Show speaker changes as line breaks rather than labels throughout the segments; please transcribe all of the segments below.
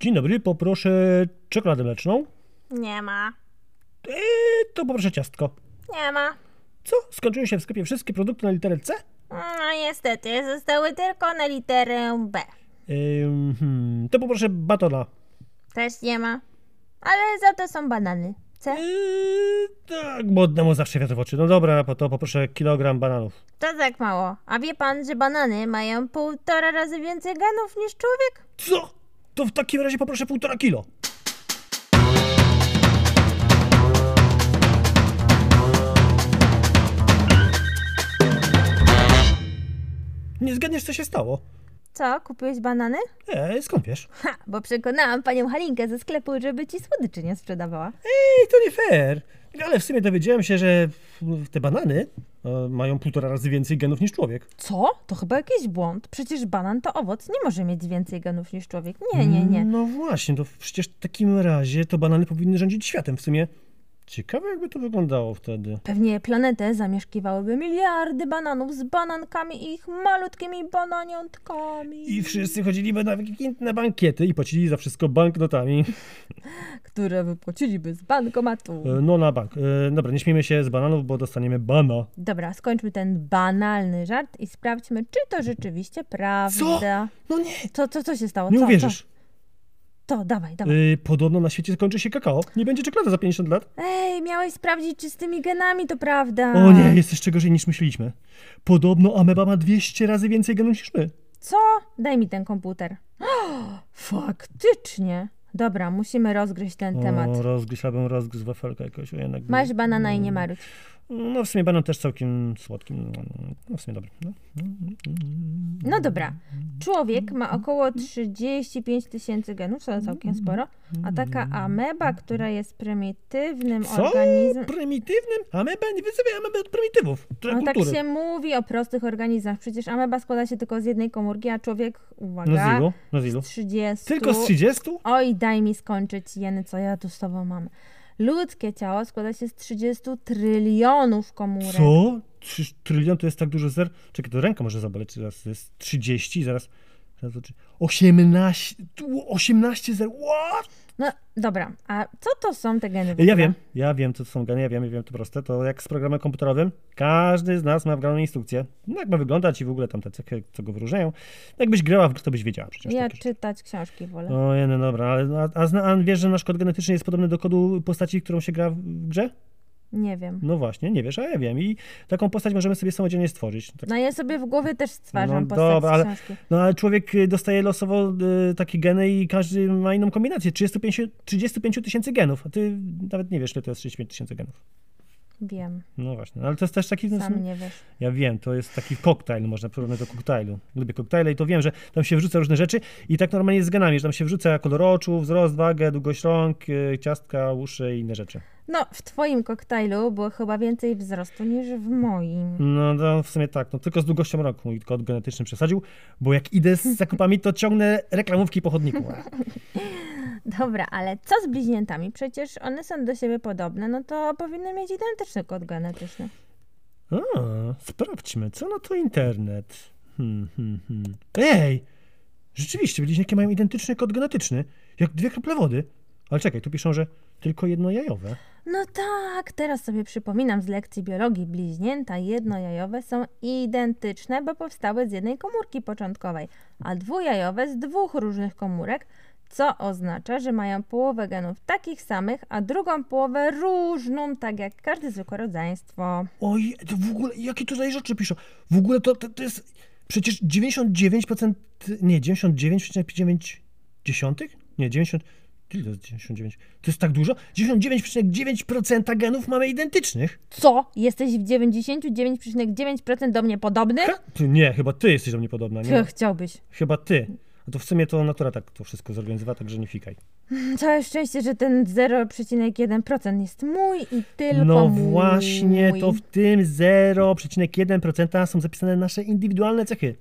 Dzień dobry, poproszę czekoladę mleczną.
Nie ma.
Eee, to poproszę ciastko.
Nie ma.
Co? Skończyły się w sklepie wszystkie produkty na literę C?
No niestety, zostały tylko na literę B.
Ym, hmm, to poproszę batona.
Też nie ma. Ale za to są banany. C?
Eee, tak, bo odnemu zawsze wiatr w oczy. No dobra, po- to poproszę kilogram bananów.
To tak mało. A wie pan, że banany mają półtora razy więcej genów niż człowiek?
Co? To w takim razie poproszę półtora kilo. Nie zgadniesz, co się stało?
Co, kupiłeś banany?
Eee, skąd wiesz?
Ha, bo przekonałam panią Halinkę ze sklepu, żeby ci słodyczy nie sprzedawała.
Ej, to nie fair. Ale w sumie dowiedziałem się, że te banany e, mają półtora razy więcej genów niż człowiek.
Co? To chyba jakiś błąd. Przecież banan to owoc, nie może mieć więcej genów niż człowiek. Nie, nie, nie.
No właśnie, to przecież w takim razie to banany powinny rządzić światem. W sumie ciekawe, jakby to wyglądało wtedy.
Pewnie planetę zamieszkiwałyby miliardy bananów z banankami i ich malutkimi bananiątkami,
I wszyscy chodziliby na, na bankiety i płacili za wszystko banknotami.
które wypłaciliby z bankomatu.
E, No na bank. E, Dobra, nie śmiejmy się z bananów, bo dostaniemy bana.
Dobra, skończmy ten banalny żart i sprawdźmy, czy to rzeczywiście prawda.
No nie,
Co, co, co się stało?
nie
co,
uwierzysz.
Co? To, dawaj, dawaj.
E, Podobno na świecie skończy się kakao. Nie będzie czekolady za 50 lat.
Ej, miałeś sprawdzić, czy z tymi genami to prawda.
O nie, jest jeszcze gorzej niż myśleliśmy. Podobno ameba ma 200 razy więcej genów niż my.
Co? Daj mi ten komputer. faktycznie. Dobra, musimy rozgryźć ten temat.
O, rozgryź, abym rozgryzł wafelkę jakoś. o, Jednak...
Masz banana i nie marudź.
No w sumie banan też całkiem słodkim. No w sumie dobry. No,
No dobra. Człowiek ma około 35 tysięcy genów, co całkiem sporo, a taka ameba, która jest prymitywnym
Co?
organizm...
Prymitywnym? Ameba? Nie wyzywaj ameby od prymitywów. To
No tak
kultury.
się mówi o prostych organizmach. Przecież ameba składa się tylko z jednej komórki, a człowiek,
No z
uwaga,
ilu? No z ilu?
30...
Tylko z 30?
Oj, daj mi skończyć, Jeny, co ja tu z tobą mam. Ludzkie ciało składa się z 30 trylionów komórek.
Co? Trzy, trylion to jest tak dużo zer? Czekaj, to ręka może zaboleć zaraz. To jest 30, zaraz. zaraz zobaczy- 18, tu 18 zer. What?
No dobra, a co to są te geny? w ogóle?
Ja wiem, ja wiem, co to są geny, ja wiem, ja wiem, to proste. To jak z programem komputerowym, każdy z nas ma wgraną instrukcję. No, jak ma wyglądać i w ogóle tam te cechy, co go wyróżniają. No, Jakbyś grała w grę, to byś wiedziała przecież.
Ja
takie rzeczy.
czytać książki wolę.
O, nie, no dobra, ale a, a, zna, a wiesz, że nasz kod genetyczny jest podobny do kodu postaci, którą się gra w w grze?
Nie wiem.
No właśnie, nie wiesz, a ja wiem. I taką postać możemy sobie samodzielnie stworzyć. Tak.
No ja sobie w głowie też stwarzam
No
postać
dobra,
z
ale-
książki.
No ale człowiek y, dostaje losowo y, takie geny i każdy ma inną kombinację. 35 35 tysięcy genów, a ty nawet nie wiesz, ile to jest 35 tysięcy genów.
Wiem,
No właśnie, no, ale to jest też taki...
sam nie wiesz.
Ja wiem, to jest taki koktajl, można porównać do koktajlu. Lubię koktajle i to wiem, że tam się wrzuca różne rzeczy i tak normalnie jest z genami, że tam się wrzuca kolor oczu, wzrost, wagę, długość rąk, y, ciastka, uszy i inne rzeczy.
No, w twoim koktajlu było chyba więcej wzrostu niż w moim.
No to w sumie tak, no tylko z długością rąk mój kod genetyczny przesadził, bo jak idę z zakupami, to ciągnę reklamówki po chodniku.
Dobra, ale co z bliźniętami? Przecież one są do siebie podobne, no to powinny mieć identyczny kod genetyczny.
A, sprawdźmy, co na to internet. Hmm, hmm, hmm. Ej! Rzeczywiście, bliźniaki mają identyczny kod genetyczny, jak dwie krople wody. Ale czekaj, tu piszą, że tylko jednojajowe.
No tak, teraz sobie przypominam z lekcji biologii. Bliźnięta jednojajowe są identyczne, bo powstały z jednej komórki początkowej, a dwujajowe z dwóch różnych komórek, co oznacza, że mają połowę genów takich samych, a drugą połowę różną, tak jak każde zwykłe rodzeństwo.
Oj, to w ogóle, jakie tutaj rzeczy piszą? W ogóle to, to, to jest przecież 99%, nie, 99,9, dziesiątych? nie, 90, ile to jest 99? To jest tak dużo? 99,9% genów mamy identycznych.
Co? Jesteś w 99,9% do mnie podobny?
Ha, ty, nie, chyba ty jesteś do mnie podobna, nie?
Ty chciałbyś.
Chyba ty. A to w sumie to natura tak to wszystko zorganizowała, także nie fikaj.
Całe szczęście, że ten 0,1% jest mój i tylko
No
mój.
właśnie, to w tym 0,1% są zapisane nasze indywidualne cechy.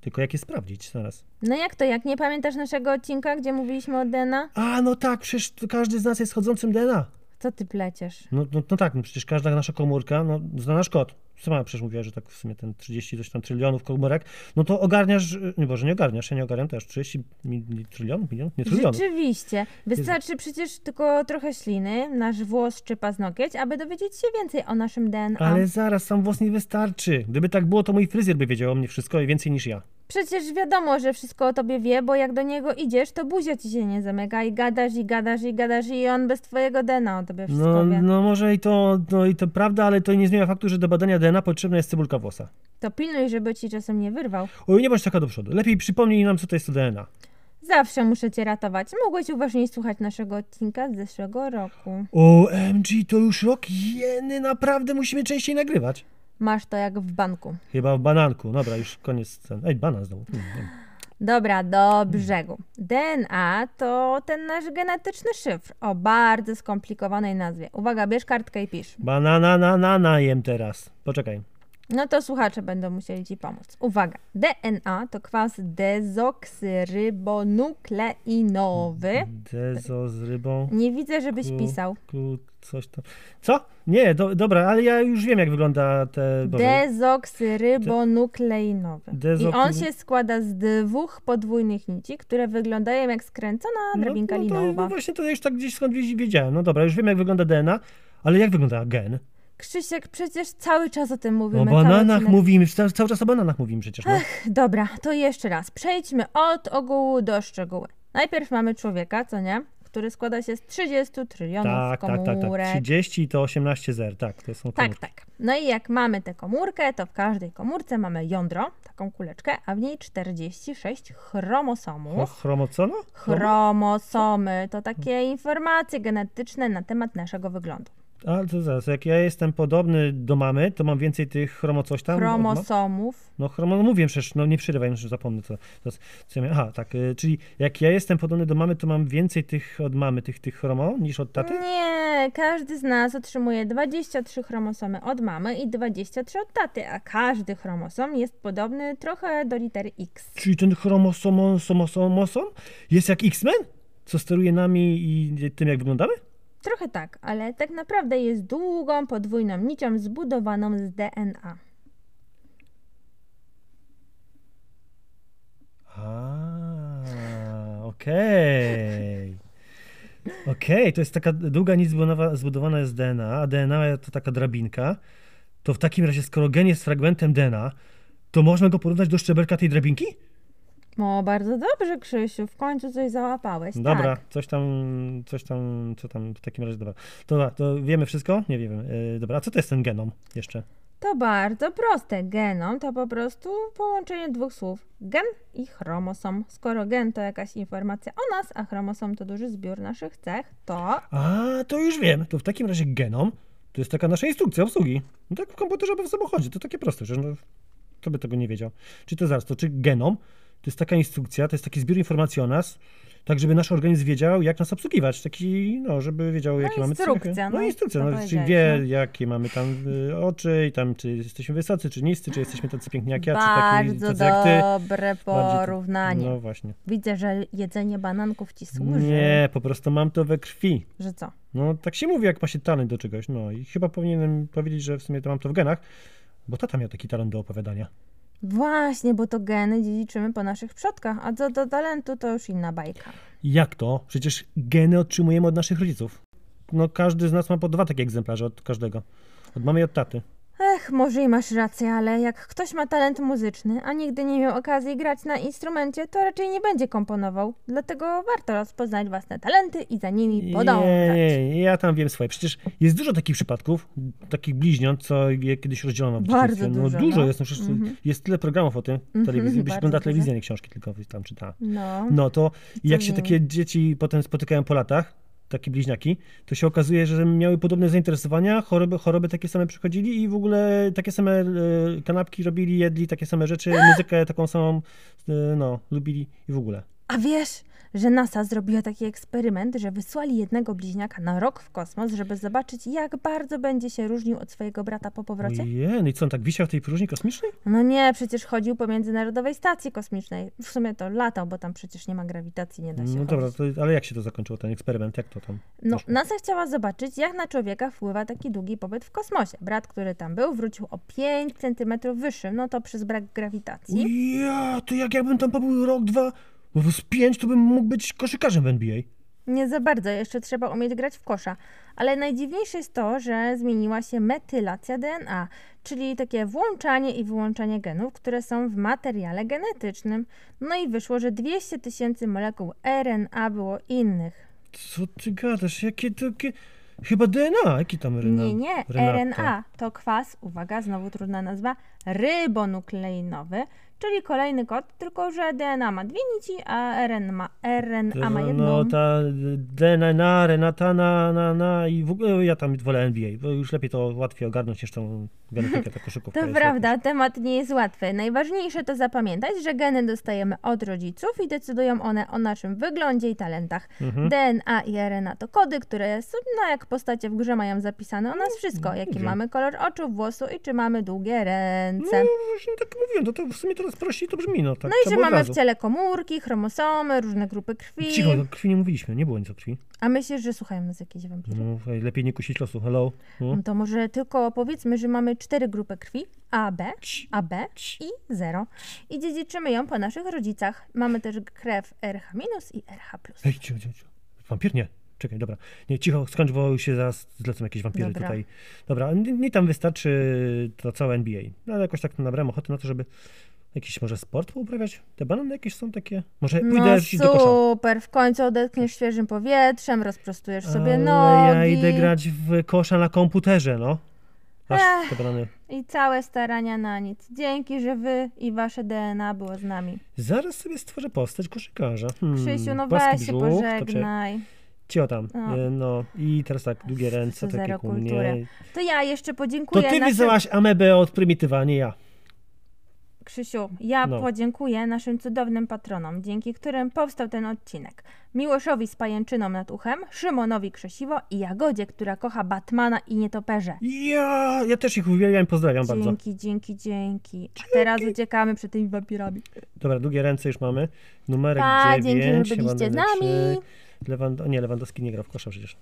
Tylko jak je sprawdzić teraz?
No jak to, jak nie pamiętasz naszego odcinka, gdzie mówiliśmy o DNA?
A, no tak, przecież to każdy z nas jest chodzącym DNA.
Co ty pleciesz?
No, no, no tak, no przecież każda nasza komórka no, zna nasz kod. sama przecież mówiła, że tak w sumie ten 30 coś tam trylionów komórek, no to ogarniasz, y, nie Boże, nie ogarniasz, ja nie ogarniam też, 30 mi, mi, trylionów, milionów, nie trylionów.
Rzeczywiście. Wystarczy przecież tylko trochę śliny, nasz włos czy paznokieć, aby dowiedzieć się więcej o naszym DNA.
Ale zaraz, sam włos nie wystarczy. Gdyby tak było, to mój fryzjer by wiedział o mnie wszystko i więcej niż ja.
Przecież wiadomo, że wszystko o tobie wie, bo jak do niego idziesz, to buzia ci się nie zamyka i gadasz, i gadasz, i gadasz, i on bez twojego DNA o tobie wszystko
No,
wie.
no może i to, no i to prawda, ale to nie zmienia faktu, że do badania DNA potrzebna jest cebulka włosa.
To pilnuj, żeby ci czasem nie wyrwał.
Oj, nie bądź taka do przodu. Lepiej przypomnij nam, co to jest to DNA.
Zawsze muszę cię ratować. Mogłeś uważniej słuchać naszego odcinka z zeszłego roku.
OMG, to już rok jeny, naprawdę musimy częściej nagrywać.
Masz to jak w banku.
Chyba w bananku. Dobra, już koniec. ten- Ej, banan znowu. Hmm, hmm.
Dobra, do brzegu. DNA to ten nasz genetyczny szyfr o bardzo skomplikowanej nazwie. Uwaga, bierz kartkę i pisz.
Banana na na na jem teraz. Poczekaj.
No to słuchacze będą musieli ci pomóc. Uwaga, DNA to kwas dezoksyrybonukleinowy.
Dezo z rybą.
Nie widzę, żebyś
Ku-
pisał.
Ku, coś tam. Co? Nie, do, dobra, ale ja już wiem, jak wygląda te... Boże.
Dezoksyrybonukleinowy. I
Dezokry-
on się składa z dwóch podwójnych nici, które wyglądają jak skręcona drabinka
no, no, to,
linowa.
no właśnie to już tak gdzieś skąd wiedziałem. No dobra, już wiem, jak wygląda DNA, ale jak wygląda gen?
Krzysiek, przecież cały czas o tym
O
mówimy. cały
bananach
odcinek.
mówimy, cały, cały czas o bananach mówimy przecież. No.
Dobra, to jeszcze raz. Przejdźmy od ogółu do szczegóły. Najpierw mamy człowieka, co nie? Który składa się z 30 trylionów
Tak, tak,
komórek.
tak, tak. 30 i to 18 zer, tak, to są
Tak,
komórki.
tak. No i jak mamy tę komórkę, to w każdej komórce mamy jądro, taką kuleczkę, a w niej 46
O,
chromosomów.
chromocono? Chromo-
Chromosomy to takie informacje genetyczne na temat naszego wyglądu.
Ale No, to zaraz, jak ja jestem podobny do mamy, to mam więcej tych chromo coś tam? od ma-
Chromosomów.
No chromo, no mówię przecież, no nie przerywaj, że zapomnę co, co, co ja miałem. Aha, tak, y, czyli jak ja jestem podobny do mamy, to mam więcej tych od mamy, tych, tych chromo, niż od
Mm.
taty?
Nie, każdy z nas otrzymuje 23 chromosomy od mamy i 23 od taty, a każdy chromosom jest podobny trochę do litery X.
Czyli ten chromosomosomosom jest jak X-Men? Co steruje nami i tym, jak wyglądamy?
Trochę tak, ale tak naprawdę jest długą, podwójną nicią zbudowaną z DNA.
A, okej. Okej, to jest taka długa nic zbudowana- zbudowana jest DNA, a DNA to taka drabinka. To w takim razie, skoro gen jest fragmentem DNA, to można go porównać do szczebelka tej drabinki?
No, bardzo dobrze, Krzysiu, w końcu coś załapałeś.
Dobra,
Tak.
coś tam, coś tam, co tam w takim razie, dobra. To, dobra, to wiemy wszystko? Nie wiemy. Yy, dobra, a co to jest ten genom jeszcze?
To bardzo proste. Genom to po prostu połączenie dwóch słów: gen i chromosom. Skoro gen to jakaś informacja o nas, a chromosom to duży zbiór naszych cech, to
A, to już wiem. To w takim razie genom to jest taka nasza instrukcja obsługi. No tak w komputerze albo w samochodzie. To takie proste, że no, kto by tego nie wiedział. Czy to zaraz, to czy genom to jest taka instrukcja, to jest taki zbiór informacji o nas, tak żeby nasz organizm wiedział, jak nas obsługiwać. Taki, no, żeby wiedział, jakie mamy
instrukcja,
cechy.
no,
No instrukcja,
to
no, czyli
powiedziałeś,
wie,
no.
jakie mamy tam y, oczy i tam, czy jesteśmy wysocy, czy niscy, czy jesteśmy tacy piękniaki, a czy taki,
bardzo
tacy jak ty.
dobre
Bardziej to-
porównanie.
No właśnie.
Widzę, że jedzenie bananków ci służy.
Nie, po prostu mam to we krwi.
Że co?
No, tak się mówi, jak ma się talent do czegoś. No i chyba powinienem powiedzieć, że w sumie to mam to w genach, bo tata miał taki talent do opowiadania.
Właśnie, bo to geny dziedziczymy po naszych przodkach, a co do talentu to już inna bajka.
Jak to? Przecież geny otrzymujemy od naszych rodziców. No, każdy z nas ma po dwa takie egzemplarze od każdego. Od mamy i od taty.
Ech, może i masz rację, ale jak ktoś ma talent muzyczny, a nigdy nie miał okazji grać na instrumencie, to raczej nie będzie komponował. Dlatego warto rozpoznać własne talenty i za nimi podążać.
Nie, ja tam wiem swoje. Przecież jest dużo takich przypadków, takich bliźniąt, co je kiedyś rozdzielono w
Bardzo
dzieciństwie. No,
dużo,
dużo
no.
jest, no, przecież
Mhm.
jest tyle programów o tym w
Mhm,
telewizji. Byś
bardzo
ogląda
dużo.
telewizję, nie książki, tylko tam czytała.
No.
No to jak się
zmieni?
takie dzieci potem spotykają po latach, takie bliźniaki, to się okazuje, że miały podobne zainteresowania, choroby, choroby takie same przychodzili i w ogóle takie same e, kanapki robili, jedli takie same rzeczy, muzykę taką samą, e, no, lubili i w ogóle.
A wiesz, że NASA zrobiła taki eksperyment, że wysłali jednego bliźniaka na rok w kosmos, żeby zobaczyć, jak bardzo będzie się różnił od swojego brata po powrocie?
Ojej, no i co, on tak wisiał w tej próżni kosmicznej?
No nie, przecież chodził po Międzynarodowej Stacji Kosmicznej. W sumie to latał, bo tam przecież nie ma grawitacji, nie da się
No
chodzić.
dobra, to, ale jak się to zakończyło, ten eksperyment, jak to tam?
No,
Poszło.
NASA chciała zobaczyć, jak na człowieka wpływa taki długi pobyt w kosmosie. Brat, który tam był, wrócił o 5 centymetrów wyższym, no to przez brak grawitacji.
Ja, to jak jakbym tam pobył rok, dwa, bo z pięć, to bym mógł być koszykarzem w NBA.
Nie za bardzo, jeszcze trzeba umieć grać w kosza. Ale najdziwniejsze jest to, że zmieniła się metylacja DNA, czyli takie włączanie i wyłączanie genów, które są w materiale genetycznym. No i wyszło, że 200 tysięcy molekuł RNA było innych.
Co ty gadasz? Jakie to... Jakie... Chyba DNA, jaki tam RNA?
Nie, nie,
Renata.
RNA to kwas, uwaga, znowu trudna nazwa, rybonukleinowy, czyli kolejny kod, tylko że DNA ma dwie nici, a RNA ma, RNA ma
No,
jedną.
No ta DNA, Renata, na, na, na i w ogóle ja tam wolę NBA, bo już lepiej to łatwiej ogarnąć niż tą genetykę, ta koszykówka.
To
jest
prawda, temat nie jest łatwy. Najważniejsze to zapamiętać, że geny dostajemy od rodziców i decydują one o naszym wyglądzie i talentach.
Mhm.
DNA i RNA to kody, które są, no jak postacie w grze mają zapisane o
Mm,
nas wszystko, jaki
dobrze.
mamy kolor oczu, włosu i czy mamy długie
No
ręce.
właśnie tak mówiłem, to, to w sumie teraz prościej to brzmi, no tak
No i
trzeba
że
było
mamy
od
w
razu.
ciele komórki, chromosomy, różne grupy krwi.
Cicho, o krwi nie mówiliśmy, nie było nic o krwi.
A myślisz, że słuchają nas jakieś wampiry?
No, ej, lepiej nie kusić losu, hello. No.
No to może tylko powiedzmy, że mamy cztery grupy krwi, A, B,
Ci-
AB
ci-
i 0. I dziedziczymy ją po naszych rodzicach. Mamy też krew RH- i RH+.
Ej, cicho, cicho, cicho. Wampir? Nie. Czekaj, dobra. Nie, cicho, skończ, bo już się zaraz zlecą jakieś wampiry
Dobra.
tutaj. Dobra, n- mi tam wystarczy to całe NBA. No ale jakoś tak nabrałem ochoty na to, żeby jakiś może sport pouprawiać. Te banany jakieś są takie? Może pójdę
No
rzucić do kosza.
super, w końcu odetchniesz świeżym powietrzem, rozprostujesz sobie
ale
nogi.
ja idę grać w kosza na komputerze, no. Masz
Ech.
te banany.
I całe starania na nic. Dzięki, że wy i wasze DNA było z nami.
Zaraz sobie stworzę postać koszykarza. Hmm,
Krzysiu, no
płaski
weź się
brzuch, to czy-
pożegnaj.
Cio tam.
No.
E, No i teraz tak, długie ręce,
Zero
takie ku
kultury.
mnie.
To ja jeszcze
To
podziękuję
ty
naszym...
wyzwałaś amebę od prymitywa, a nie ja.
Krzysiu, ja
No.
podziękuję naszym cudownym patronom, dzięki którym powstał ten odcinek. Miłoszowi z pajęczyną nad uchem, Szymonowi Krzesiwo i Jagodzie, która kocha Batmana i nietoperze.
Ja, ja też ich uwielbiam i pozdrawiam bardzo.
Dzięki, dzięki, dzięki. A teraz uciekamy przed tymi wampirami.
Dobra, długie ręce już mamy. Numerek
Pa, dzięki, że
9.
byliście z nami.
Lewand... Nie, Lewandowski nie gra w kosza przecież.